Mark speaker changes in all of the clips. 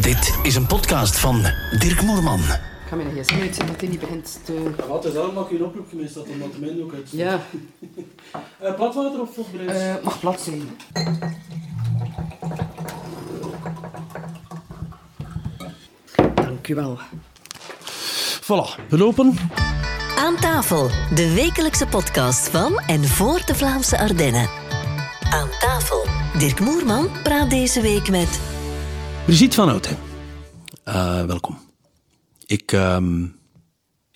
Speaker 1: Dit is een podcast van Dirk Moerman.
Speaker 2: Ik ga mijn gsm uitzetten dat hij niet begint te...
Speaker 3: Ja, Wat is dat? Maak je een oproep gemist dat omdat de mijn ook uit.
Speaker 2: Ja,
Speaker 3: Eh, platwater of vochtbreed?
Speaker 2: eh, mag plat zijn. Dank u wel.
Speaker 3: Voilà, gelopen.
Speaker 4: Aan tafel, de wekelijkse podcast van en voor de Vlaamse Ardennen. Aan tafel, Dirk Moerman praat deze week met
Speaker 3: Brigitte van Houten, Eh, welkom. Ik ehm,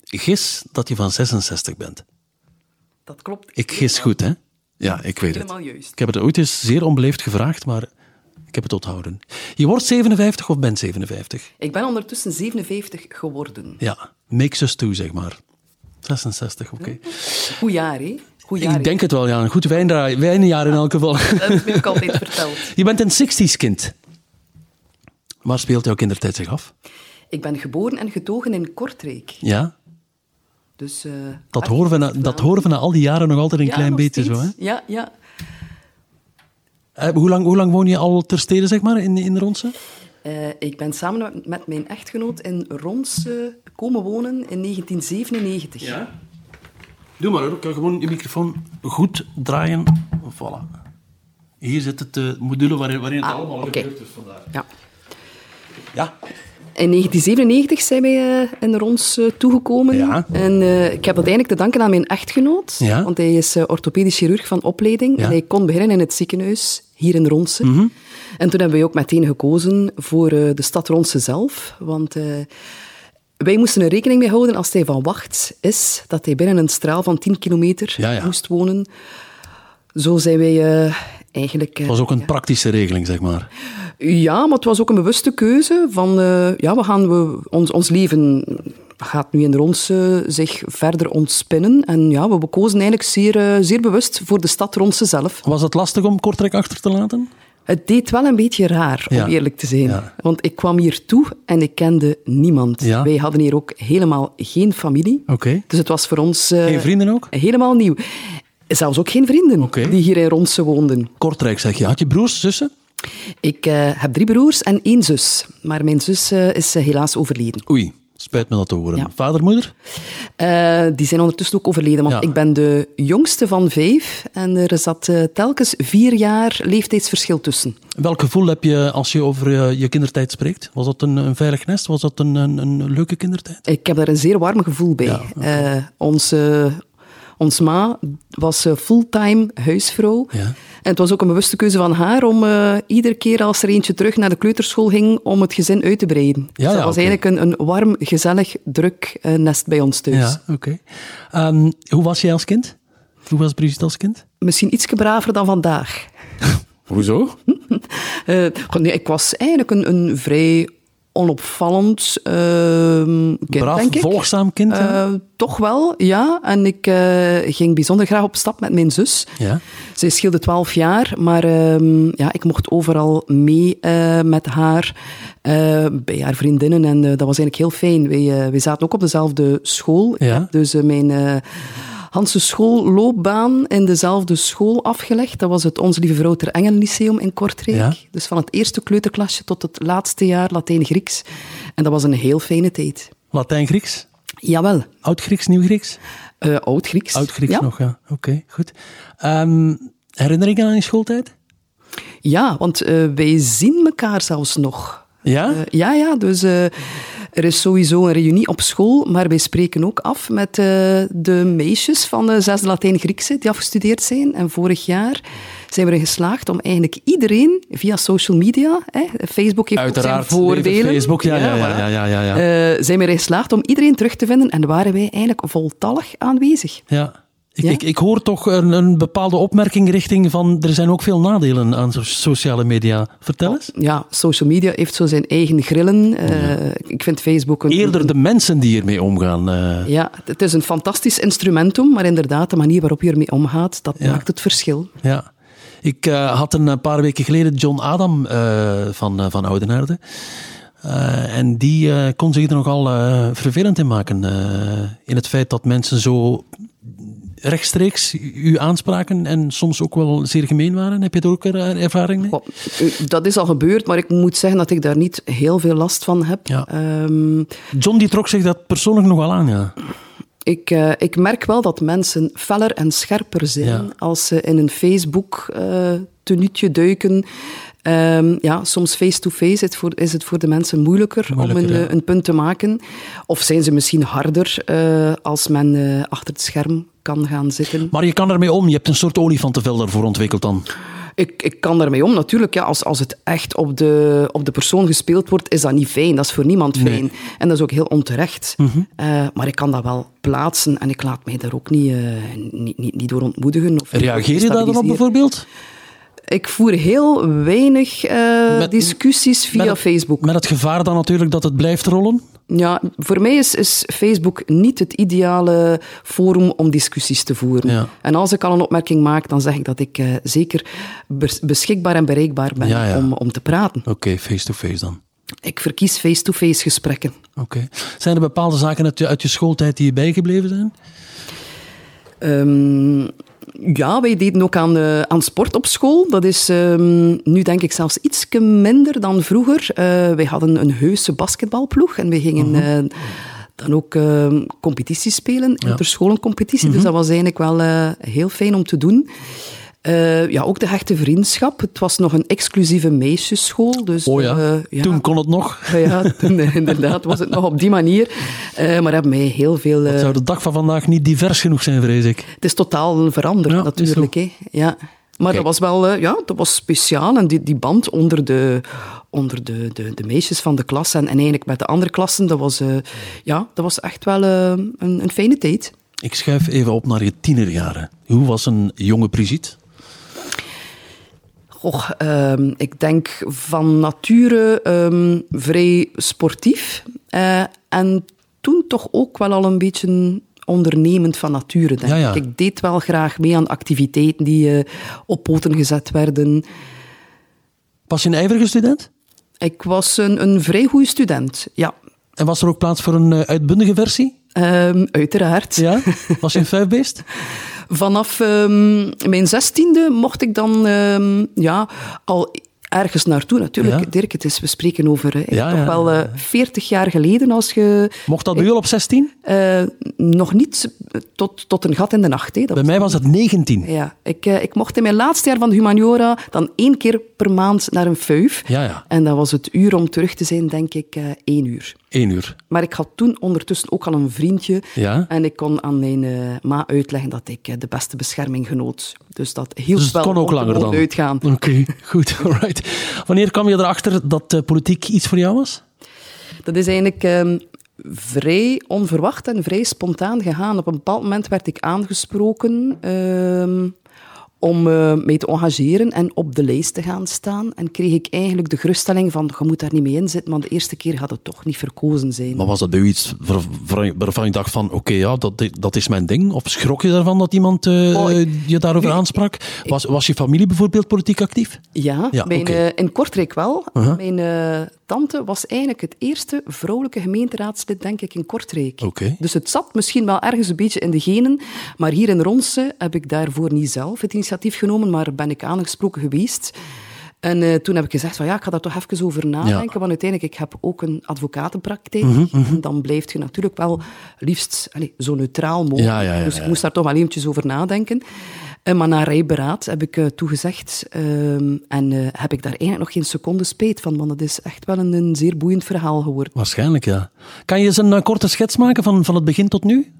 Speaker 3: gis dat je van 66 bent.
Speaker 2: Dat klopt.
Speaker 3: Ik gis goed, hè? Ja, ik weet het.
Speaker 2: Helemaal juist.
Speaker 3: Ik heb het ooit eens zeer onbeleefd gevraagd, maar ik heb het onthouden. Je wordt 57 of bent 57?
Speaker 2: Ik ben ondertussen 57 geworden.
Speaker 3: Ja, makes us two, zeg maar. 66, oké.
Speaker 2: Goed jaar, hè? Goed jaar. hè?
Speaker 3: Ik denk het wel, ja. Een goed wijnra- wijnjaar in elk geval.
Speaker 2: Dat is mij ook altijd verteld.
Speaker 3: Je bent een 60s kind. Waar speelt jouw kindertijd zich af?
Speaker 2: Ik ben geboren en getogen in Kortrijk.
Speaker 3: Ja,
Speaker 2: Dus, eh,
Speaker 3: dat
Speaker 2: echt
Speaker 3: horen, we na,
Speaker 2: verhaal.
Speaker 3: dat horen we na al die jaren nog altijd een
Speaker 2: Ja,
Speaker 3: klein
Speaker 2: nog
Speaker 3: beetje
Speaker 2: steeds.
Speaker 3: zo. Hè?
Speaker 2: Ja, ja.
Speaker 3: Eh, hoe, lang, hoe lang woon je al ter stede, zeg maar, in, in Ronsen?
Speaker 2: Eh, ik ben samen met mijn echtgenoot in Rons eh, komen wonen in 1997.
Speaker 3: Doe maar hoor, ik kan gewoon je microfoon goed draaien. Voilà. Hier zit het eh, module waarin, het
Speaker 2: Ah, allemaal oké. gebeurt,
Speaker 3: dus vandaag.
Speaker 2: Ja.
Speaker 3: Ja,
Speaker 2: In 1997 zijn wij eh, in Rons eh, toegekomen.
Speaker 3: Ja.
Speaker 2: En eh, ik heb dat eigenlijk te danken aan mijn echtgenoot.
Speaker 3: Ja.
Speaker 2: Want hij is eh, orthopedisch chirurg van opleiding.
Speaker 3: Ja. Mhm.
Speaker 2: En hij kon beginnen in het ziekenhuis, hier in Ronsen. En toen hebben wij ook meteen gekozen voor eh, de stad Ronsen zelf. Want eh, wij moesten er rekening mee houden als hij van wacht is... dat hij binnen een straal van 10 kilometer
Speaker 3: Ja, ja.
Speaker 2: moest wonen. Zo zijn wij... eh, Eigenlijk, eh,
Speaker 3: het was ook een praktische regeling, zeg maar.
Speaker 2: ja, maar het was ook een bewuste keuze van, eh, ja, we gaan we, ons, ons leven gaat nu in Ronse zich verder ontspinnen. En ja, we bekozen eigenlijk zeer, eh, zeer bewust voor de stad Ronse zelf.
Speaker 3: Was het lastig om Kortrijk achter te laten?
Speaker 2: Het deed wel een beetje raar, om
Speaker 3: Ja.
Speaker 2: eerlijk te zijn.
Speaker 3: Ja.
Speaker 2: Want ik kwam hier toe en ik kende niemand.
Speaker 3: Ja.
Speaker 2: Wij hadden hier ook helemaal geen familie.
Speaker 3: Oké.
Speaker 2: Dus het was voor ons... eh,
Speaker 3: Geen vrienden ook?
Speaker 2: Helemaal nieuw. Zelfs ook geen vrienden
Speaker 3: Oké.
Speaker 2: die hier in Ronse woonden.
Speaker 3: Kortrijk, zeg je. Had je broers, zussen?
Speaker 2: Ik eh, heb drie broers en één zus. Maar mijn zus eh, is eh, helaas overleden.
Speaker 3: Oei, spijt me dat te horen.
Speaker 2: Ja.
Speaker 3: Vader, moeder?
Speaker 2: Eh, die zijn ondertussen ook overleden, want
Speaker 3: Ja.
Speaker 2: ik ben de jongste van vijf en er zat eh, telkens vier jaar leeftijdsverschil tussen.
Speaker 3: Welk gevoel heb je als je over eh, je kindertijd spreekt? Was dat een, een veilig nest? Was dat een, een, een leuke kindertijd?
Speaker 2: Ik heb daar een zeer warm gevoel bij.
Speaker 3: Ja,
Speaker 2: Eh, onze, ons ma was eh, fulltime huisvrouw.
Speaker 3: Ja.
Speaker 2: En het was ook een bewuste keuze van haar om eh, iedere keer als er eentje terug naar de kleuterschool ging, om het gezin uit te breiden. dus dat
Speaker 3: ja,
Speaker 2: was
Speaker 3: oké.
Speaker 2: eigenlijk een, een warm, gezellig, druk eh, nest bij ons thuis.
Speaker 3: Ja, oké. Ehm, hoe was jij als kind? Hoe was Brigitte als kind?
Speaker 2: Misschien iets braver dan vandaag.
Speaker 3: Hoezo?
Speaker 2: Eh, goh, nee, ik was eigenlijk een, een vrij onopvallend ehm kind,
Speaker 3: Braaf,
Speaker 2: denk ik.
Speaker 3: volgzaam kind. ja?
Speaker 2: Eh, toch wel, ja. En ik eh, ging bijzonder graag op stap met mijn zus.
Speaker 3: ja.
Speaker 2: Zij scheelde 12 jaar, maar ehm, ja, ik mocht overal mee eh, met haar, eh, bij haar vriendinnen. En eh, dat was eigenlijk heel fijn. Wij, eh, wij zaten ook op dezelfde school. Ik
Speaker 3: Ja.
Speaker 2: heb dus eh, mijn eh Hanse schoolloopbaan in dezelfde school afgelegd. Dat was het Onze Lieve Vrouw Ter Engel Lyceum in Kortrijk.
Speaker 3: Ja.
Speaker 2: Dus van het eerste kleuterklasje tot het laatste jaar Latijn-Grieks. En dat was een heel fijne tijd.
Speaker 3: Latijn-Grieks?
Speaker 2: Jawel,
Speaker 3: Oud-Grieks, Nieuw-Grieks?
Speaker 2: eh, Oud-Grieks.
Speaker 3: Oud-Grieks
Speaker 2: ja.
Speaker 3: nog, ja. Oké, goed. Ehm, herinneringen aan je schooltijd?
Speaker 2: Ja, want eh, wij zien elkaar zelfs nog.
Speaker 3: Ja?
Speaker 2: Eh, ja, ja, dus eh, er is sowieso een reunie op school, maar wij spreken ook af met eh, de meisjes van de zesde Latijn-Griekse die afgestudeerd zijn. En vorig jaar zijn we erin geslaagd om eigenlijk iedereen via social media, hè, Facebook heeft ook zijn voordelen,
Speaker 3: leven Facebook, ja, ja, ja.
Speaker 2: voilà.
Speaker 3: ja, ja, ja, ja.
Speaker 2: Eh, zijn we erin geslaagd om iedereen terug te vinden en waren wij eigenlijk voltallig aanwezig.
Speaker 3: Ja. Ik,
Speaker 2: Ja?
Speaker 3: Ik, ik hoor toch een, een bepaalde opmerking richting van er zijn ook veel nadelen aan so- sociale media. Vertel eens.
Speaker 2: Ja, social media heeft zo zijn eigen grillen. Eh, Ik vind Facebook een,
Speaker 3: Eerder de mensen die ermee omgaan. eh.
Speaker 2: Ja, het is een fantastisch instrumentum, maar inderdaad, de manier waarop je ermee omgaat, dat
Speaker 3: Ja.
Speaker 2: maakt het verschil.
Speaker 3: ja. Ik eh, had een eh, paar weken geleden John Adam eh, van, eh, van Oudenaarde. Eh, en die eh, kon zich er nogal eh, vervelend in maken. eh, in het feit dat mensen zo rechtstreeks uw aanspraken en soms ook wel zeer gemeen waren? Heb je er ook er- ervaring mee?
Speaker 2: Goh, Dat is al gebeurd, maar ik moet zeggen dat ik daar niet heel veel last van heb.
Speaker 3: Ja.
Speaker 2: Ehm,
Speaker 3: John die trok zich dat persoonlijk nogal aan, ja.
Speaker 2: ik, eh, ik merk wel dat mensen feller en scherper zijn
Speaker 3: Ja.
Speaker 2: als ze in een Facebook eh tenutje duiken. Ehm, ja, soms face-to-face is het voor- is het voor de mensen moeilijker,
Speaker 3: Moeilijker,
Speaker 2: om een,
Speaker 3: ja.
Speaker 2: eh, een punt te maken. Of zijn ze misschien harder eh, als men eh, achter het scherm kan gaan zitten.
Speaker 3: Maar je kan ermee om. Je hebt een soort olifantenvel daarvoor ontwikkeld dan.
Speaker 2: Ik, ik kan daarmee om, natuurlijk. Ja, als, als het echt op de, op de persoon gespeeld wordt, is dat niet fijn. Dat is voor niemand fijn. En dat is ook heel onterecht.
Speaker 3: Mhm.
Speaker 2: Eh, maar ik kan dat wel plaatsen en ik laat mij daar ook niet, eh, niet, niet, niet door ontmoedigen. Of
Speaker 3: Reageer je daar dan op
Speaker 2: destabiliseren.
Speaker 3: bijvoorbeeld?
Speaker 2: Ik voer heel weinig eh,
Speaker 3: Met-
Speaker 2: discussies via
Speaker 3: met het-
Speaker 2: Facebook.
Speaker 3: Met het gevaar dan natuurlijk dat het blijft rollen.
Speaker 2: Ja, voor mij is, is Facebook niet het ideale forum om discussies te voeren.
Speaker 3: Ja.
Speaker 2: En als ik al een opmerking maak, dan zeg ik dat ik eh, zeker bes- beschikbaar en bereikbaar ben
Speaker 3: Ja, ja.
Speaker 2: Om, om te praten.
Speaker 3: Oké, face-to-face dan.
Speaker 2: Ik verkies face-to-face gesprekken.
Speaker 3: Oké. Zijn er bepaalde zaken uit je, uit je schooltijd die je bijgebleven zijn?
Speaker 2: Ehm, ja, wij deden ook aan, eh, aan sport op school. Dat is ehm, nu denk ik zelfs iets minder dan vroeger. Eh, wij hadden een heuse basketbalploeg en we gingen
Speaker 3: Mhm.
Speaker 2: eh, dan ook ehm, competities spelen, interscholencompetitie.
Speaker 3: Mhm.
Speaker 2: Dus dat was eigenlijk wel eh, heel fijn om te doen. Eh, ja, ook de hechte vriendschap. Het was nog een exclusieve meisjesschool. Dus,
Speaker 3: Oh ja.
Speaker 2: eh, ja.
Speaker 3: Toen kon het nog.
Speaker 2: Ja, ja, toen, eh, inderdaad was het nog op die manier. Eh, maar hebben mij heel veel... eh,
Speaker 3: Het zou de dag van vandaag niet divers genoeg zijn, vrees ik.
Speaker 2: het is totaal veranderd
Speaker 3: Ja,
Speaker 2: natuurlijk. Hè. Ja. Maar
Speaker 3: Kijk.
Speaker 2: dat was wel eh, ja, dat was speciaal. En die, die band onder, de, onder de, de, de meisjes van de klas en, en eigenlijk met de andere klassen, dat was, eh, ja, dat was echt wel eh, een, een fijne tijd.
Speaker 3: Ik schuif even op naar je tienerjaren. Hoe was een jonge Brigitte?
Speaker 2: Goh, ehm, ik denk van nature ehm, vrij sportief. eh, en toen toch ook wel al een beetje ondernemend van nature, denk
Speaker 3: Ja, ja.
Speaker 2: ik. Ik deed wel graag mee aan activiteiten die eh, op poten gezet werden.
Speaker 3: Was je een ijverige student?
Speaker 2: Ik was een, een vrij goede student, ja.
Speaker 3: En was er ook plaats voor een eh, uitbundige versie?
Speaker 2: Ehm, uiteraard.
Speaker 3: Ja? Was je een vuifbeest?
Speaker 2: Vanaf ehm, mijn zestiende mocht ik dan ehm, ja, al ergens naartoe. Natuurlijk,
Speaker 3: Ja.
Speaker 2: Dirk, het is, we spreken over eh,
Speaker 3: Ja,
Speaker 2: toch
Speaker 3: ja,
Speaker 2: wel
Speaker 3: ja.
Speaker 2: eh, 40 jaar geleden als je
Speaker 3: Mocht dat bij jou op 16?
Speaker 2: eh, nog niet tot, tot een gat in de nacht. Hè, dat
Speaker 3: Bij
Speaker 2: was-
Speaker 3: mij was dat 19.
Speaker 2: ja, ik, eh, ik mocht in mijn laatste jaar van de humaniora dan één keer per maand naar een fuif.
Speaker 3: Ja, ja.
Speaker 2: En dat was het uur om terug te zijn, denk ik, eh één uur.
Speaker 3: Eén uur.
Speaker 2: Maar ik had toen ondertussen ook al een vriendje.
Speaker 3: Ja.
Speaker 2: En ik kon aan mijn eh, ma uitleggen dat ik eh, de beste bescherming genoot. Dus dat hield
Speaker 3: Dus het
Speaker 2: wel
Speaker 3: kon ook
Speaker 2: om te
Speaker 3: langer
Speaker 2: mogen
Speaker 3: dan.
Speaker 2: uitgaan.
Speaker 3: Oké, goed. Alright. Wanneer kwam je erachter dat eh, politiek iets voor jou was?
Speaker 2: Dat is eigenlijk ehm, vrij onverwacht en vrij spontaan gegaan. Op een bepaald moment werd ik aangesproken ehm, om eh, mee te engageren en op de lijst te gaan staan. En kreeg ik eigenlijk de geruststelling van, je moet daar niet mee in zitten, want de eerste keer gaat het toch niet verkozen zijn.
Speaker 3: Maar was dat bij u iets waar- waar- waarvan je dacht van, oké, ja, dat, dat is mijn ding? Of schrok je daarvan dat iemand eh,
Speaker 2: Oh,
Speaker 3: je daarover aansprak? Was, was je familie bijvoorbeeld politiek actief?
Speaker 2: Ja,
Speaker 3: Ja,
Speaker 2: mijn,
Speaker 3: oké.
Speaker 2: eh, in Kortrijk wel.
Speaker 3: Uh-huh.
Speaker 2: Mijn eh, tante was eigenlijk het eerste vrouwelijke gemeenteraadslid, denk ik, in Kortrijk.
Speaker 3: Oké.
Speaker 2: Dus het zat misschien wel ergens een beetje in de genen. Maar hier in Ronse heb ik daarvoor niet zelf het initiatief genomen, maar ben ik aangesproken geweest. En eh, toen heb ik gezegd van ja, ik ga daar toch even over nadenken, want uiteindelijk, ik heb ook een advocatenpraktijk.
Speaker 3: Mhm,
Speaker 2: En dan blijf je natuurlijk wel liefst allee, zo neutraal mogelijk.
Speaker 3: Ja, ja, ja,
Speaker 2: dus
Speaker 3: ja,
Speaker 2: ik
Speaker 3: ja.
Speaker 2: moest daar toch wel eventjes over nadenken. Eh, maar na rijberaad heb ik eh, toegezegd. ehm, en eh, heb ik daar eigenlijk nog geen seconde spijt van, want het is echt wel een, een zeer boeiend verhaal geworden.
Speaker 3: Waarschijnlijk, ja. Kan je eens een eh, korte schets maken van, van het begin tot nu?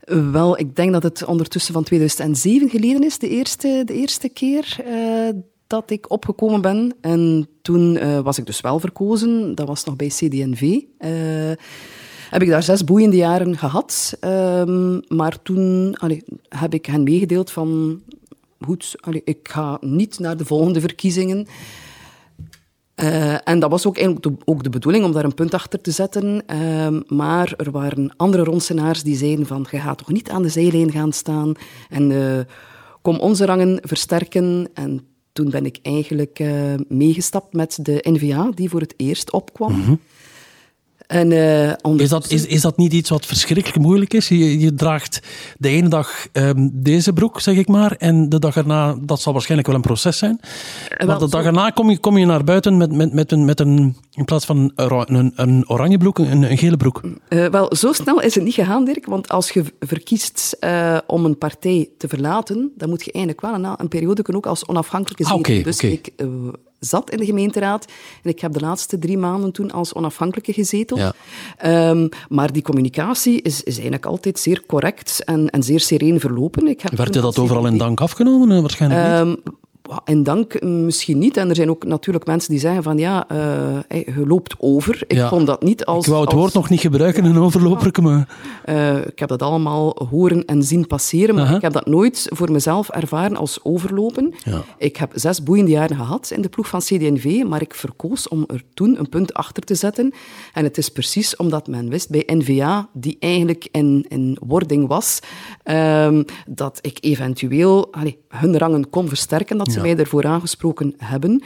Speaker 2: Eh, Wel, ik denk dat het ondertussen van 2007 geleden is, de eerste, de eerste keer eh, dat ik opgekomen ben. En toen eh, was ik dus wel verkozen, dat was nog bij CDNV. Eh, heb ik daar zes boeiende jaren gehad. Ehm, maar toen allee, heb ik hen meegedeeld van... Goed, allee, ik ga niet naar de volgende verkiezingen. Eh, en dat was ook, eigenlijk de, ook de bedoeling om daar een punt achter te zetten. Ehm, maar er waren andere ronsenaars die zeiden van, je gaat toch niet aan de zijlijn gaan staan en eh, kom onze rangen versterken. En toen ben ik eigenlijk eh, meegestapt met de NVA, die voor het eerst opkwam. En, eh, onder-
Speaker 3: Mhm. Is dat, is, is dat niet iets wat verschrikkelijk moeilijk is? Je, je draagt de ene dag ehm, deze broek, zeg ik maar, en de dag erna, dat zal waarschijnlijk wel een proces zijn.
Speaker 2: wel,
Speaker 3: Want de dag
Speaker 2: zo-
Speaker 3: erna kom je, kom je naar buiten met, met, met, een, met een, in plaats van een, ora- een, een oranje broek, een, een gele broek.
Speaker 2: Eh, wel, zo snel is het niet gegaan, Dirk. Want als je verkiest eh, om een partij te verlaten, dan moet je eigenlijk wel een, een periode kunnen ook als onafhankelijke
Speaker 3: Ah,
Speaker 2: zetel.
Speaker 3: oké,
Speaker 2: dus
Speaker 3: oké.
Speaker 2: ik eh, zat in de gemeenteraad en ik heb de laatste drie maanden toen als onafhankelijke gezeteld.
Speaker 3: Ja.
Speaker 2: Ehm, maar die communicatie is, is eigenlijk altijd zeer correct en, en zeer sereen verlopen. Ik heb
Speaker 3: Werd je
Speaker 2: toen
Speaker 3: dat
Speaker 2: als
Speaker 3: overal in
Speaker 2: zetel-
Speaker 3: dank afgenomen? Eh, Waarschijnlijk niet.
Speaker 2: Ehm, wa- en dank eh, misschien niet. En er zijn ook natuurlijk mensen die zeggen van ja, eh, hey, je loopt over. Ik
Speaker 3: Ja.
Speaker 2: vond dat niet als...
Speaker 3: ik wou het
Speaker 2: als-
Speaker 3: woord nog niet gebruiken, een overloper, maar...
Speaker 2: eh, ik heb dat allemaal horen en zien passeren, maar
Speaker 3: Aha.
Speaker 2: ik heb dat nooit voor mezelf ervaren als overlopen.
Speaker 3: Ja.
Speaker 2: Ik heb zes boeiende jaren gehad in de ploeg van CD&V, maar ik verkoos om er toen een punt achter te zetten. En het is precies omdat men wist bij NVA, die eigenlijk in, in wording was, ehm, dat ik eventueel allee, hun rangen kon versterken, dat ze
Speaker 3: Ja.
Speaker 2: mij daarvoor aangesproken hebben.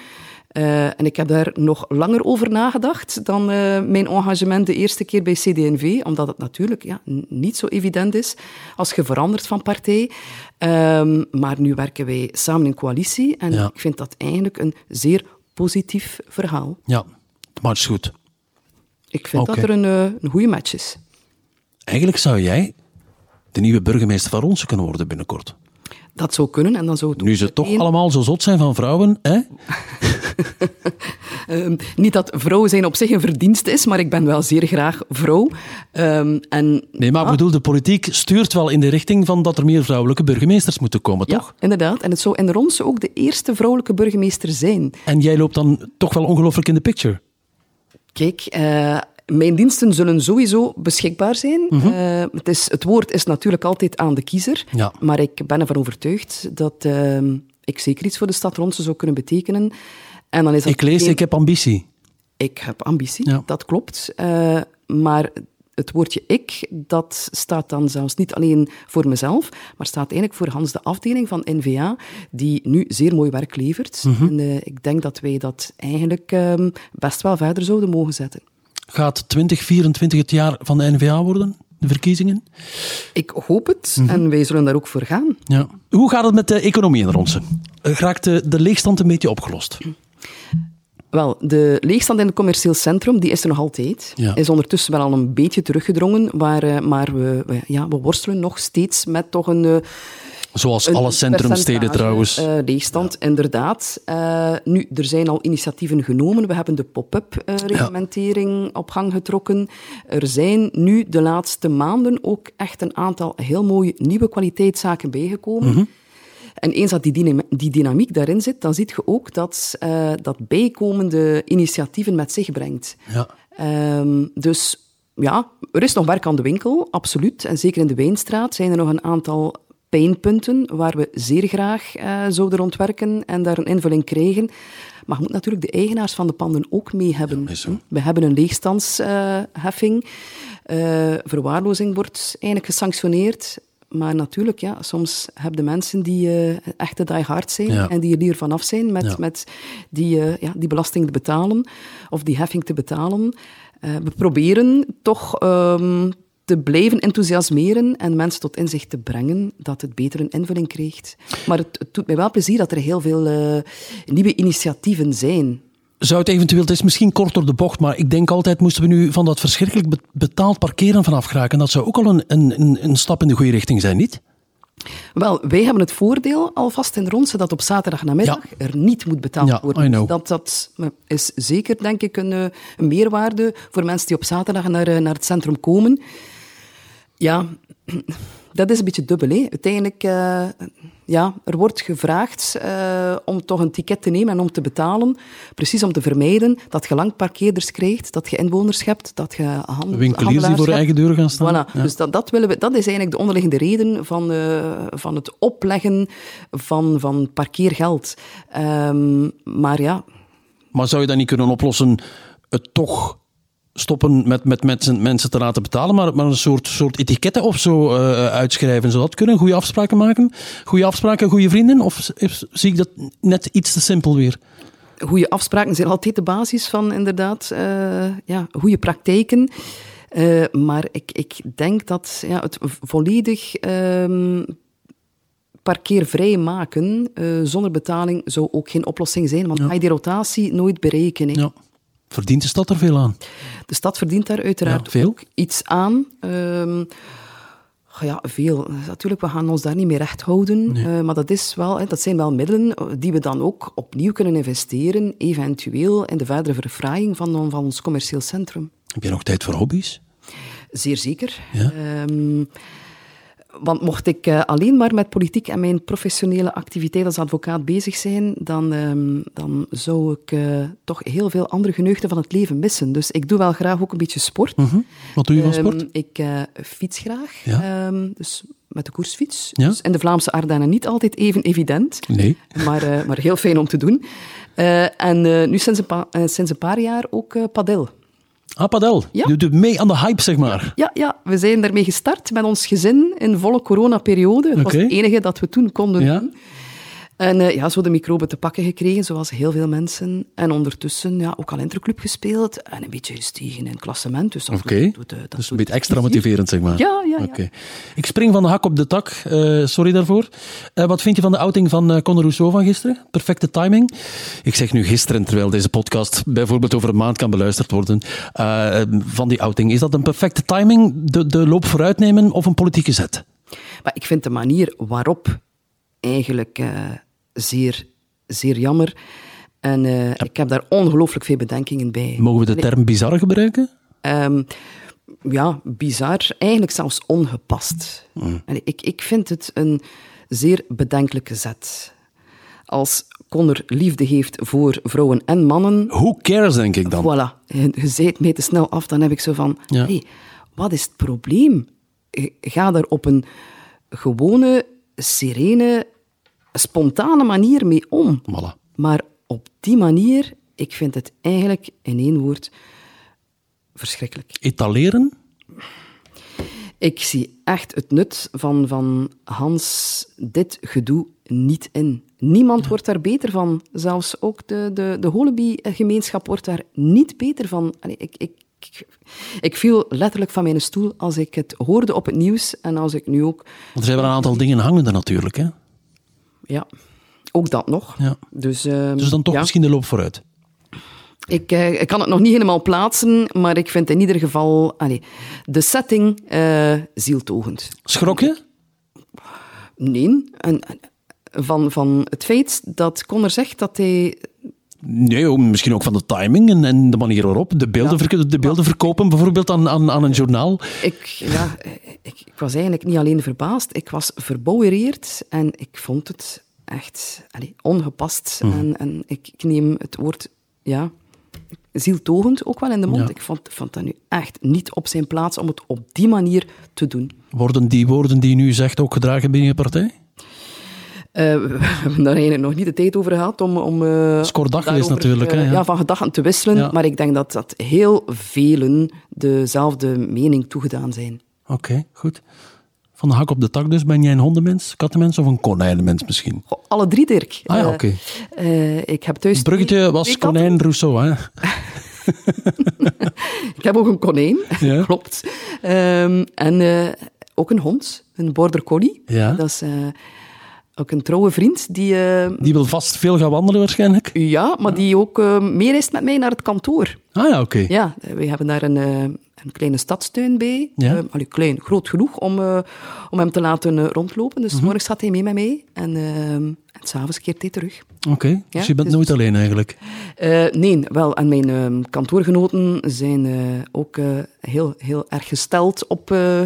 Speaker 2: Eh, en ik heb daar nog langer over nagedacht dan eh, mijn engagement de eerste keer bij CD&V, omdat het natuurlijk ja, n- niet zo evident is als je verandert van partij. Ehm, maar nu werken wij samen in coalitie en
Speaker 3: Ja.
Speaker 2: ik vind dat eigenlijk een zeer positief verhaal.
Speaker 3: Ja, het matcht goed.
Speaker 2: Ik vind
Speaker 3: Oké.
Speaker 2: dat er een, eh, een goede match is.
Speaker 3: Eigenlijk zou jij de nieuwe burgemeester van Ronsen kunnen worden binnenkort.
Speaker 2: Dat zou kunnen en dan zou het ook
Speaker 3: Nu ze toch
Speaker 2: meteen-
Speaker 3: allemaal zo zot zijn van vrouwen, hè?
Speaker 2: Ehm, niet dat vrouw zijn op zich een verdienste is, maar ik ben wel zeer graag vrouw. Ehm, en
Speaker 3: Nee, maar ik bedoel, de politiek stuurt wel in de richting van dat er meer vrouwelijke burgemeesters moeten komen,
Speaker 2: Ja,
Speaker 3: toch?
Speaker 2: inderdaad. En het zou in Ronse ook de eerste vrouwelijke burgemeester zijn.
Speaker 3: En jij loopt dan toch wel ongelooflijk in de picture.
Speaker 2: Kijk, eh, mijn diensten zullen sowieso beschikbaar zijn.
Speaker 3: Mhm.
Speaker 2: Eh, het, is, het woord is natuurlijk altijd aan de kiezer.
Speaker 3: Ja.
Speaker 2: Maar ik ben ervan overtuigd dat eh, ik zeker iets voor de stad Ronse zou kunnen betekenen. En dan is dat
Speaker 3: Ik lees,
Speaker 2: geen-
Speaker 3: ik heb ambitie.
Speaker 2: ik heb ambitie,
Speaker 3: Ja.
Speaker 2: dat klopt. Eh, maar het woordje ik, dat staat dan zelfs niet alleen voor mezelf, maar staat eigenlijk voor Hans de afdeling van NVA, die nu zeer mooi werk levert.
Speaker 3: Mhm.
Speaker 2: En eh, ik denk dat wij dat eigenlijk ehm, best wel verder zouden mogen zetten.
Speaker 3: Gaat 2024 het jaar van de NVA worden? De verkiezingen?
Speaker 2: Ik hoop het en wij zullen daar ook voor gaan.
Speaker 3: Ja. Hoe gaat het met de economie in Ronsen? Eh, Raakt de, de leegstand een beetje opgelost?
Speaker 2: Wel, de leegstand in het commercieel centrum die is er nog altijd.
Speaker 3: Ja.
Speaker 2: Is ondertussen wel al een beetje teruggedrongen, maar, eh, maar we, we- ja, we worstelen nog steeds met toch een... eh,
Speaker 3: Zoals
Speaker 2: Een
Speaker 3: alle centrumsteden
Speaker 2: percentage,
Speaker 3: trouwens.
Speaker 2: eh, leegstand, inderdaad. Eh, nu, er zijn al initiatieven genomen. We hebben de pop-up eh, reglementering op gang getrokken. Er zijn nu de laatste maanden ook echt een aantal heel mooie nieuwe kwaliteitszaken bijgekomen.
Speaker 3: Mhm.
Speaker 2: En eens dat die, dynam- die dynamiek daarin zit, dan zie je ook dat eh, dat bijkomende initiatieven met zich brengt.
Speaker 3: Ja.
Speaker 2: Ehm, dus ja, er is nog werk aan de winkel, absoluut. En zeker in de Wijnstraat zijn er nog een aantal pijnpunten waar we zeer graag eh, zouden rondwerken en daar een invulling krijgen. Maar je moet natuurlijk de eigenaars van de panden ook mee hebben.
Speaker 3: is zo.
Speaker 2: hm? we hebben een leegstandsheffing. Eh, verwaarlozing wordt eigenlijk gesanctioneerd. Maar natuurlijk, ja, soms hebben de mensen die eh, echte die-hard zijn
Speaker 3: Ja.
Speaker 2: en die er hier vanaf zijn met,
Speaker 3: Ja.
Speaker 2: met die, eh, ja, die belasting te betalen of die heffing te betalen. Eh, we proberen toch ehm, te blijven enthousiasmeren en mensen tot inzicht te brengen dat het beter een invulling krijgt. Maar het, het doet mij wel plezier dat er heel veel eh, nieuwe initiatieven zijn.
Speaker 3: Zou het eventueel, het is misschien kort door de bocht, maar ik denk altijd moesten we nu van dat verschrikkelijk be- betaald parkeren vanaf geraken. Dat zou ook al een, een, een, een stap in de goede richting zijn, niet?
Speaker 2: Wel, wij hebben het voordeel alvast in Ronsen dat op zaterdagnamiddag
Speaker 3: Ja.
Speaker 2: er niet moet betaald
Speaker 3: Ja, I
Speaker 2: worden.
Speaker 3: know.
Speaker 2: Dat, dat is zeker, denk ik, een, eh, een meerwaarde voor mensen die op zaterdag naar, eh, naar het centrum komen. Ja, dat is een beetje dubbel. Hè. Uiteindelijk, eh, ja, er wordt gevraagd eh, om toch een ticket te nemen en om te betalen. Precies om te vermijden dat je lang parkeerders krijgt, dat je inwoners hebt, dat je hand,
Speaker 3: Winkeliers die voor
Speaker 2: handelaars
Speaker 3: eigen
Speaker 2: hebt.
Speaker 3: deur gaan staan.
Speaker 2: Voilà. Dus dat, dat, willen we, dat is eigenlijk de onderliggende reden van, eh, van het opleggen van, van parkeergeld. Ehm, maar ja,
Speaker 3: Maar zou je dat niet kunnen oplossen, het toch stoppen met, met mensen, mensen te laten betalen, maar, maar een soort, soort etiketten of zo eh, uitschrijven? Zou dat kunnen? Goede afspraken maken? Goede afspraken, goede vrienden? Of is- zie ik dat net iets te simpel weer?
Speaker 2: goede afspraken zijn altijd de basis van inderdaad eh, ja, goede praktijken. Eh, maar ik, ik denk dat ja, het volledig ehm, parkeervrij maken eh, zonder betaling zou ook geen oplossing zijn. Want
Speaker 3: Ja.
Speaker 2: ga je die rotatie nooit berekenen.
Speaker 3: Ja. Verdient de stad er veel aan?
Speaker 2: De stad verdient daar uiteraard
Speaker 3: Ja, veel.
Speaker 2: ook iets aan. Ehm, goh ja, veel. Dus Natuurlijk, we gaan ons daar niet mee recht houden. Eh, maar dat, is wel, hè, dat zijn wel middelen eh, die we dan ook opnieuw kunnen investeren, eventueel in de verdere verfraaiing van, van ons commercieel centrum.
Speaker 3: Heb je nog tijd voor hobby's?
Speaker 2: Zeer zeker.
Speaker 3: Ja.
Speaker 2: Ehm, want mocht ik eh, alleen maar met politiek en mijn professionele activiteit als advocaat bezig zijn, dan, ehm, dan zou ik eh, toch heel veel andere geneugten van het leven missen. Dus ik doe wel graag ook een beetje
Speaker 3: Mhm.
Speaker 2: sport.
Speaker 3: Wat doe je van
Speaker 2: Ehm,
Speaker 3: sport?
Speaker 2: ik eh, fiets graag.
Speaker 3: Ja.
Speaker 2: Ehm, dus met de koersfiets.
Speaker 3: Ja.
Speaker 2: Dus in de Vlaamse Ardennen niet altijd even evident.
Speaker 3: Nee.
Speaker 2: Maar, eh, maar heel fijn om te doen. Eh, en eh, nu sinds een, pa- eh, sinds een paar jaar ook eh padel.
Speaker 3: Ah, padel.
Speaker 2: Ja.
Speaker 3: Je doet mee aan de hype, zeg maar.
Speaker 2: Ja, ja, we zijn daarmee gestart met ons gezin in volle coronaperiode. Dat was
Speaker 3: Oké.
Speaker 2: het enige dat we toen konden
Speaker 3: Ja.
Speaker 2: doen. En eh, ja, zo de microben te pakken gekregen, zoals heel veel mensen. En ondertussen ja, ook al interclub gespeeld en een beetje gestegen in het klassement. Dus dat
Speaker 3: Oké.
Speaker 2: doet, doet, eh, dat
Speaker 3: dus een
Speaker 2: doet
Speaker 3: beetje extra
Speaker 2: plezier.
Speaker 3: motiverend, zeg maar.
Speaker 2: Ja, ja, ja.
Speaker 3: Oké. Ik spring van de hak op de tak. eh, sorry daarvoor. Eh, wat vind je van de outing van eh Conor Rousseau van gisteren? Perfecte timing. Ik zeg nu gisteren, terwijl deze podcast bijvoorbeeld over een maand kan beluisterd worden. eh, van die outing. Is dat een perfecte timing? De, de loop vooruit nemen of een politieke zet?
Speaker 2: Maar ik vind de manier waarop eigenlijk eh, zeer, zeer jammer. En eh, ik heb daar ongelooflijk veel bedenkingen bij.
Speaker 3: Mogen we de term bizar gebruiken?
Speaker 2: Ehm, ja, bizar. Eigenlijk zelfs ongepast. En ik, ik vind het een zeer bedenkelijke zet. Als Connor liefde heeft voor vrouwen en mannen,
Speaker 3: Who cares, denk ik dan.
Speaker 2: voilà, je je zei het mij te snel af, dan heb ik zo van,
Speaker 3: Ja.
Speaker 2: hey, wat is het probleem? Eh, Ga daar op een gewone, serene, spontane manier mee om.
Speaker 3: Voilà.
Speaker 2: Maar op die manier, ik vind het eigenlijk, in één woord, verschrikkelijk.
Speaker 3: Etaleren?
Speaker 2: Ik zie echt het nut van, van Hans dit gedoe niet in. Niemand wordt daar beter van. Zelfs ook de, de, de Holeby-gemeenschap wordt daar niet beter van. Allee, ik, ik, ik, ik viel letterlijk van mijn stoel als ik het hoorde op het nieuws en als ik nu ook...
Speaker 3: Want er zijn wel een aantal dingen hangende natuurlijk. Hè?
Speaker 2: Ja, ook dat nog.
Speaker 3: Ja.
Speaker 2: Dus, ehm,
Speaker 3: Dus dan toch
Speaker 2: ja.
Speaker 3: misschien de loop vooruit.
Speaker 2: Ik, eh, ik kan het nog niet helemaal plaatsen, maar ik vind in ieder geval allee, de setting eh zieltogend.
Speaker 3: Schrok je?
Speaker 2: Nee. En, en- van, van het feit dat Connor zegt dat hij...
Speaker 3: Nee, ook misschien ook van de timing en, en de manier waarop. De beelden, verk- de beelden verkopen bijvoorbeeld aan, aan, aan een journaal.
Speaker 2: Ik, ja, ik, ik was eigenlijk niet alleen verbaasd, ik was verbouwereerd en ik vond het echt allee, ongepast. En, en ik, ik neem het woord ja, zieltogend ook wel in de mond.
Speaker 3: Ja.
Speaker 2: Ik vond, vond dat nu echt niet op zijn plaats om het op die manier te doen.
Speaker 3: Worden die woorden die je nu zegt ook gedragen binnen je partij?
Speaker 2: Eh, we hebben daar eigenlijk nog niet de tijd over gehad om... om eh,
Speaker 3: is kort dag geweest
Speaker 2: daarover,
Speaker 3: natuurlijk,
Speaker 2: eh,
Speaker 3: hè, ja.
Speaker 2: ja. van gedachten te wisselen.
Speaker 3: Ja.
Speaker 2: Maar ik denk dat, dat heel velen dezelfde mening toegedaan zijn.
Speaker 3: Oké, goed. Van de hak op de tak dus. Ben jij een hondenmens, kattenmens of een konijnenmens misschien?
Speaker 2: Goh, alle drie, Dirk.
Speaker 3: Ah ja,
Speaker 2: Eh,
Speaker 3: oké.
Speaker 2: eh, ik heb thuis...
Speaker 3: Het bruggetje
Speaker 2: twee-
Speaker 3: was
Speaker 2: twee katten.
Speaker 3: konijn Rousseau, hè?
Speaker 2: Ik heb ook een konijn,
Speaker 3: Ja.
Speaker 2: klopt. Ehm, en eh, ook een hond, een border collie.
Speaker 3: Ja.
Speaker 2: Dat is eh, ook een trouwe vriend die... eh,
Speaker 3: Die wil vast veel gaan wandelen waarschijnlijk.
Speaker 2: ja, maar die ook eh, mee is met mij naar het kantoor.
Speaker 3: Ah ja, oké.
Speaker 2: Ja, eh, we hebben daar een, eh, een kleine stadstuin bij.
Speaker 3: Ja.
Speaker 2: Eh, allee, klein, groot genoeg om, eh, om hem te laten eh, rondlopen. Dus 's
Speaker 3: Mhm.
Speaker 2: morgens gaat hij mee met mij en, eh, en s'avonds keert hij terug.
Speaker 3: Oké, dus
Speaker 2: Ja,
Speaker 3: je bent
Speaker 2: dus-
Speaker 3: nooit alleen eigenlijk.
Speaker 2: Eh, nee, wel. En mijn eh, kantoorgenoten zijn eh, ook eh, heel, heel erg gesteld op eh,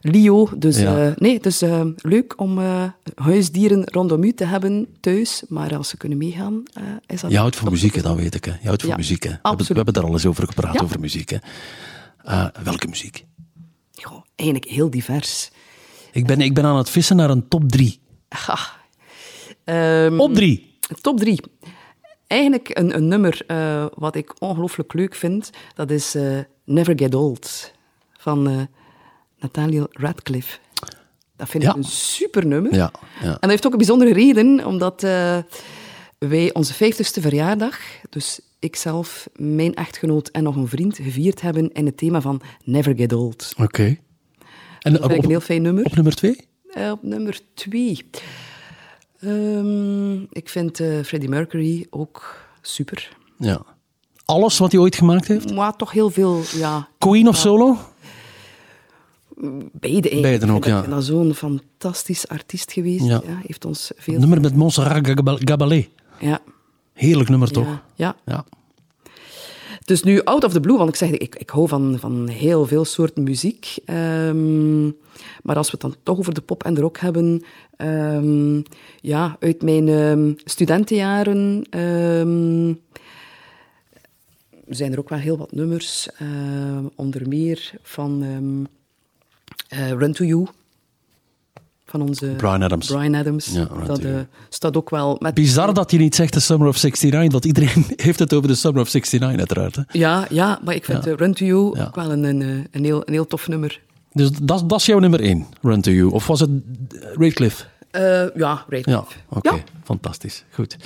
Speaker 2: Lio. Dus
Speaker 3: Ja.
Speaker 2: eh, nee, het is eh, leuk om eh, huisdieren rondom u te hebben thuis. Maar als ze kunnen meegaan, eh, is dat...
Speaker 3: Je houdt van
Speaker 2: dat-
Speaker 3: muziek, hè, dat weet ik. Hè. Je houdt van
Speaker 2: Ja,
Speaker 3: muziek. Hè. We, hebben,
Speaker 2: absoluut.
Speaker 3: we hebben daar al eens over gepraat,
Speaker 2: Ja.
Speaker 3: over muziek. Hè. Eh, welke muziek?
Speaker 2: Goh, eigenlijk heel divers.
Speaker 3: Ik ben, ik ben aan het vissen naar een top 3.
Speaker 2: Ha. Ehm,
Speaker 3: Op 3!
Speaker 2: Top drie. Eigenlijk een, een nummer eh, wat ik ongelooflijk leuk vind. Dat is eh, Never Get Old van eh Nathaniel Radcliffe. Dat vind
Speaker 3: Ja.
Speaker 2: ik een super nummer.
Speaker 3: Ja, ja.
Speaker 2: En dat heeft ook een bijzondere reden, omdat eh, wij onze 50ste verjaardag, dus ikzelf, mijn echtgenoot en nog een vriend, gevierd hebben in het thema van Never Get Old.
Speaker 3: Oké. En
Speaker 2: Dat vind ik een heel
Speaker 3: op,
Speaker 2: fijn nummer.
Speaker 3: op nummer twee?
Speaker 2: Eh, op nummer twee. Ehm, ik vind eh, Freddie Mercury ook super.
Speaker 3: Ja. Alles wat hij ooit gemaakt heeft?
Speaker 2: Maar toch heel veel, ja,
Speaker 3: Queen of solo?
Speaker 2: beide eigenlijk.
Speaker 3: Beiden ook,
Speaker 2: Ik vind
Speaker 3: ja.
Speaker 2: dat- dat zo'n fantastisch artiest geweest.
Speaker 3: Ja.
Speaker 2: Ja. heeft ons veel...
Speaker 3: Nummer met Montserrat Gabal- Gabalé.
Speaker 2: Ja.
Speaker 3: Heerlijk nummer, toch?
Speaker 2: Ja, ja.
Speaker 3: Ja.
Speaker 2: Dus nu out of the blue, want ik zeg, ik, ik hou van, van heel veel soorten muziek. Ehm, maar als we het dan toch over de pop en de rock hebben. ehm, ja, uit mijn ehm, studentenjaren ehm, zijn er ook wel heel wat nummers. ehm, onder meer van ehm, eh, Run to You. Van onze
Speaker 3: Bryan Adams.
Speaker 2: Bryan Adams.
Speaker 3: Ja, Run to
Speaker 2: dat
Speaker 3: You.
Speaker 2: eh, staat ook wel met
Speaker 3: Bizar dat hij niet zegt de Summer of 69, want iedereen heeft het over de Summer of 69 uiteraard. Hè.
Speaker 2: Ja, ja, maar ik vind
Speaker 3: Ja.
Speaker 2: eh, Run to You
Speaker 3: Ja.
Speaker 2: ook wel een, een, eh, een, heel, een heel tof nummer.
Speaker 3: Dus dat, dat is jouw nummer één, Run to You. Of was het Radcliffe?
Speaker 2: Eh, ja, right.
Speaker 3: Ja, oké.
Speaker 2: Ja.
Speaker 3: Fantastisch. Goed.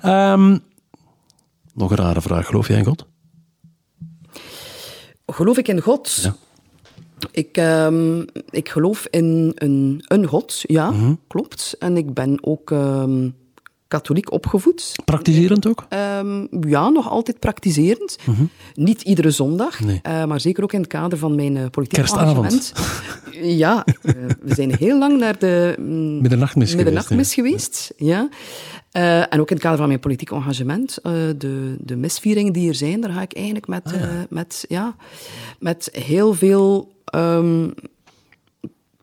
Speaker 3: Ehm, nog een rare vraag. Geloof jij in God?
Speaker 2: Geloof ik in God?
Speaker 3: Ja.
Speaker 2: Ik, ehm, ik geloof in een, een God, ja,
Speaker 3: Mhm.
Speaker 2: klopt. En ik ben ook ehm, katholiek opgevoed.
Speaker 3: Praktiserend ook?
Speaker 2: Ehm, ja, nog altijd praktiserend. Niet iedere zondag,
Speaker 3: Mhm. Nee.
Speaker 2: eh, maar zeker ook in het kader van mijn eh, politiek
Speaker 3: Kerstavond.
Speaker 2: engagement. ja, eh, we zijn heel lang naar de mm,
Speaker 3: Middernachtmis geweest,
Speaker 2: middernachtmis geweest. Ja. Eh, en ook in het kader van mijn politiek engagement, eh, de, de misvieringen die er zijn, daar ga ik eigenlijk met,
Speaker 3: Ah,
Speaker 2: eh, met, ja, met heel veel ehm,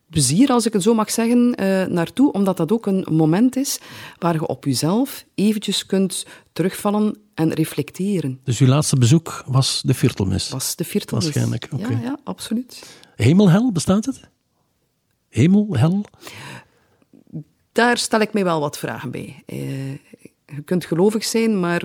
Speaker 2: plezier, als ik het zo mag zeggen, eh, naartoe. Omdat dat ook een moment is waar je op jezelf eventjes kunt terugvallen en reflecteren.
Speaker 3: Dus uw laatste bezoek was de Virtelmis.
Speaker 2: Was de viertel.
Speaker 3: Waarschijnlijk, oké.
Speaker 2: Ja, ja, absoluut.
Speaker 3: Hemel, hel, bestaat het? Hemel, hel?
Speaker 2: Daar stel ik mij wel wat vragen bij. Eh, je kunt gelovig zijn, maar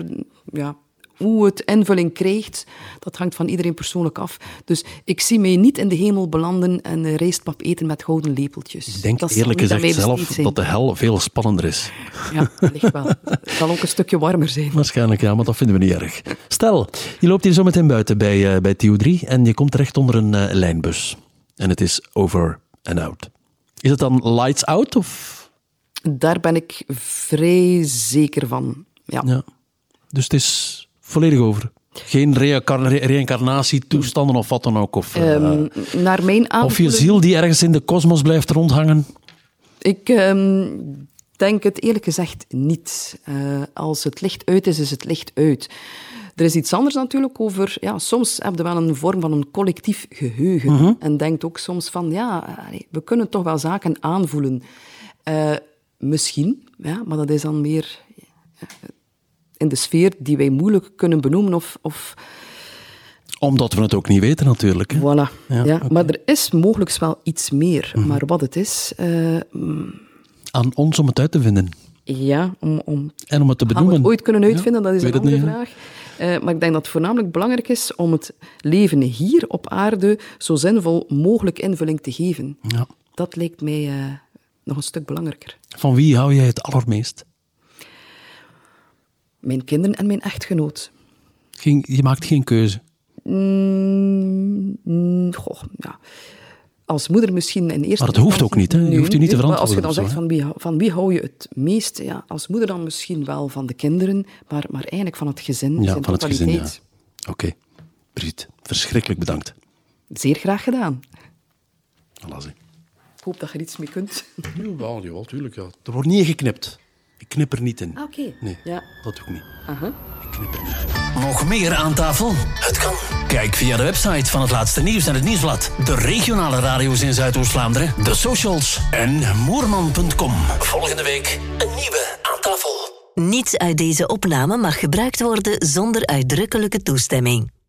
Speaker 2: ja, hoe het invulling krijgt, dat hangt van iedereen persoonlijk af. Dus ik zie mij niet in de hemel belanden en eh, rijstpap eten met gouden lepeltjes.
Speaker 3: Ik denk
Speaker 2: dat zal
Speaker 3: eerlijk
Speaker 2: niet aan
Speaker 3: gezegd
Speaker 2: mij
Speaker 3: zelf
Speaker 2: besteed zijn.
Speaker 3: dat de hel veel spannender is.
Speaker 2: Ja, wellicht wel. Het zal ook een stukje warmer zijn.
Speaker 3: Waarschijnlijk ja, maar dat vinden we niet erg. Stel, je loopt hier zo meteen buiten bij, eh, bij Theo 3 en je komt terecht onder een eh, lijnbus. En het is over and out. Is het dan lights out of...
Speaker 2: Daar ben ik vrij zeker van. Ja.
Speaker 3: Ja. Dus het is volledig over. Geen reïncar- re- reïncarnatietoestanden of wat dan ook. Of, eh,
Speaker 2: Ehm, naar mijn
Speaker 3: of je
Speaker 2: aanvoeling...
Speaker 3: ziel die ergens in de kosmos blijft rondhangen.
Speaker 2: Ik ehm, denk het eerlijk gezegd niet. Eh, als het licht uit is, is het licht uit. Er is iets anders natuurlijk over... Ja, soms heb je wel een vorm van een collectief geheugen. En denkt ook soms van, ja, allee, we kunnen toch wel zaken aanvoelen. Eh, misschien, ja, maar dat is dan meer eh, in de sfeer die wij moeilijk kunnen benoemen of, of
Speaker 3: Omdat we het ook niet weten natuurlijk. hè.
Speaker 2: Voilà.
Speaker 3: Ja,
Speaker 2: Ja, Mhm.
Speaker 3: oké.
Speaker 2: Maar er is mogelijk wel iets meer. Maar wat het is, eh, mm,
Speaker 3: Aan ons om het uit te vinden.
Speaker 2: ja, om, om
Speaker 3: En om het te
Speaker 2: gaan we
Speaker 3: benoemen.
Speaker 2: het ooit kunnen uitvinden,
Speaker 3: Ja,
Speaker 2: dat is
Speaker 3: weet
Speaker 2: een
Speaker 3: het
Speaker 2: andere
Speaker 3: niet, hè.
Speaker 2: vraag. Eh, maar ik denk dat het voornamelijk belangrijk is om het leven hier op aarde zo zinvol mogelijk invulling te geven.
Speaker 3: Ja.
Speaker 2: Dat lijkt mij eh, nog een stuk belangrijker.
Speaker 3: Van wie hou jij het allermeest?
Speaker 2: Mijn kinderen en mijn echtgenoot.
Speaker 3: Geen, je maakt geen keuze.
Speaker 2: Mm, mm, goh, ja. Als moeder misschien in eerste
Speaker 3: Maar dat hoeft ook niet, hè? Je
Speaker 2: Nee,
Speaker 3: hoeft u niet te
Speaker 2: nee, maar Als je
Speaker 3: verantwoorden
Speaker 2: dan
Speaker 3: of zo,
Speaker 2: zegt
Speaker 3: hè?
Speaker 2: van wie, hou- van wie hou je het meest, ja, als moeder dan misschien wel van de kinderen, maar, maar eigenlijk van het gezin.
Speaker 3: Ja,
Speaker 2: zijn
Speaker 3: van het gezin, ja.
Speaker 2: totaliteit.
Speaker 3: Oké. Brigitte, verschrikkelijk bedankt.
Speaker 2: Zeer graag gedaan.
Speaker 3: Voilà, zie.
Speaker 2: Ik hoop dat je er iets mee kunt.
Speaker 3: Jawel, jawel, tuurlijk. Ja. Er wordt niet geknipt. Ik knip er niet in.
Speaker 2: Ah, oké.
Speaker 3: Nee,
Speaker 2: Ja.
Speaker 3: dat doe ik niet.
Speaker 2: Aha.
Speaker 3: Ik knip er niet in.
Speaker 1: Nog meer aan tafel? Het kan. Kijk via de website van het laatste nieuws en het nieuwsblad. De regionale radio's in Zuidoost-Vlaanderen, de socials en moerman.com. Volgende week een nieuwe aan tafel.
Speaker 4: Niets uit deze opname mag gebruikt worden zonder uitdrukkelijke toestemming.